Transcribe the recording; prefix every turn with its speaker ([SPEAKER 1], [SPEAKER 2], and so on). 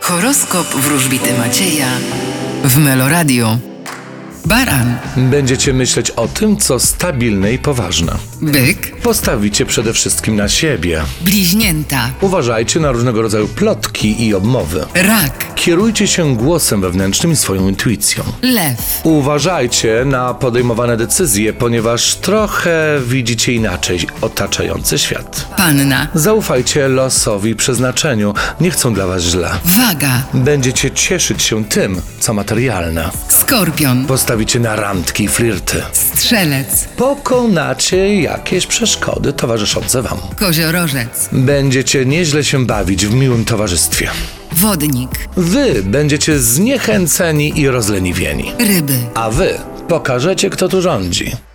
[SPEAKER 1] Horoskop wróżbity Macieja w Meloradio. Baran,
[SPEAKER 2] Będziecie myśleć o tym, co stabilne i poważne.
[SPEAKER 1] byk,
[SPEAKER 2] Postawicie przede wszystkim na siebie.
[SPEAKER 1] bliźnięta,
[SPEAKER 2] Uważajcie na różnego rodzaju plotki i obmowy.
[SPEAKER 1] rak,
[SPEAKER 2] Kierujcie się głosem wewnętrznym i swoją intuicją.
[SPEAKER 1] lew,
[SPEAKER 2] Uważajcie na podejmowane decyzje, ponieważ trochę widzicie inaczej otaczający świat.
[SPEAKER 1] panna,
[SPEAKER 2] Zaufajcie losowi i przeznaczeniu, nie chcą dla was źle.
[SPEAKER 1] waga,
[SPEAKER 2] Będziecie cieszyć się tym, co materialne.
[SPEAKER 1] skorpion,
[SPEAKER 2] Postawicie na randki i flirty.
[SPEAKER 1] strzelec,
[SPEAKER 2] Pokonacie jakieś przeszkody towarzyszące wam.
[SPEAKER 1] koziorożec,
[SPEAKER 2] Będziecie nieźle się bawić w miłym towarzystwie.
[SPEAKER 1] wodnik,
[SPEAKER 2] Wy będziecie zniechęceni i rozleniwieni,
[SPEAKER 1] ryby.
[SPEAKER 2] a wy pokażecie, kto tu rządzi.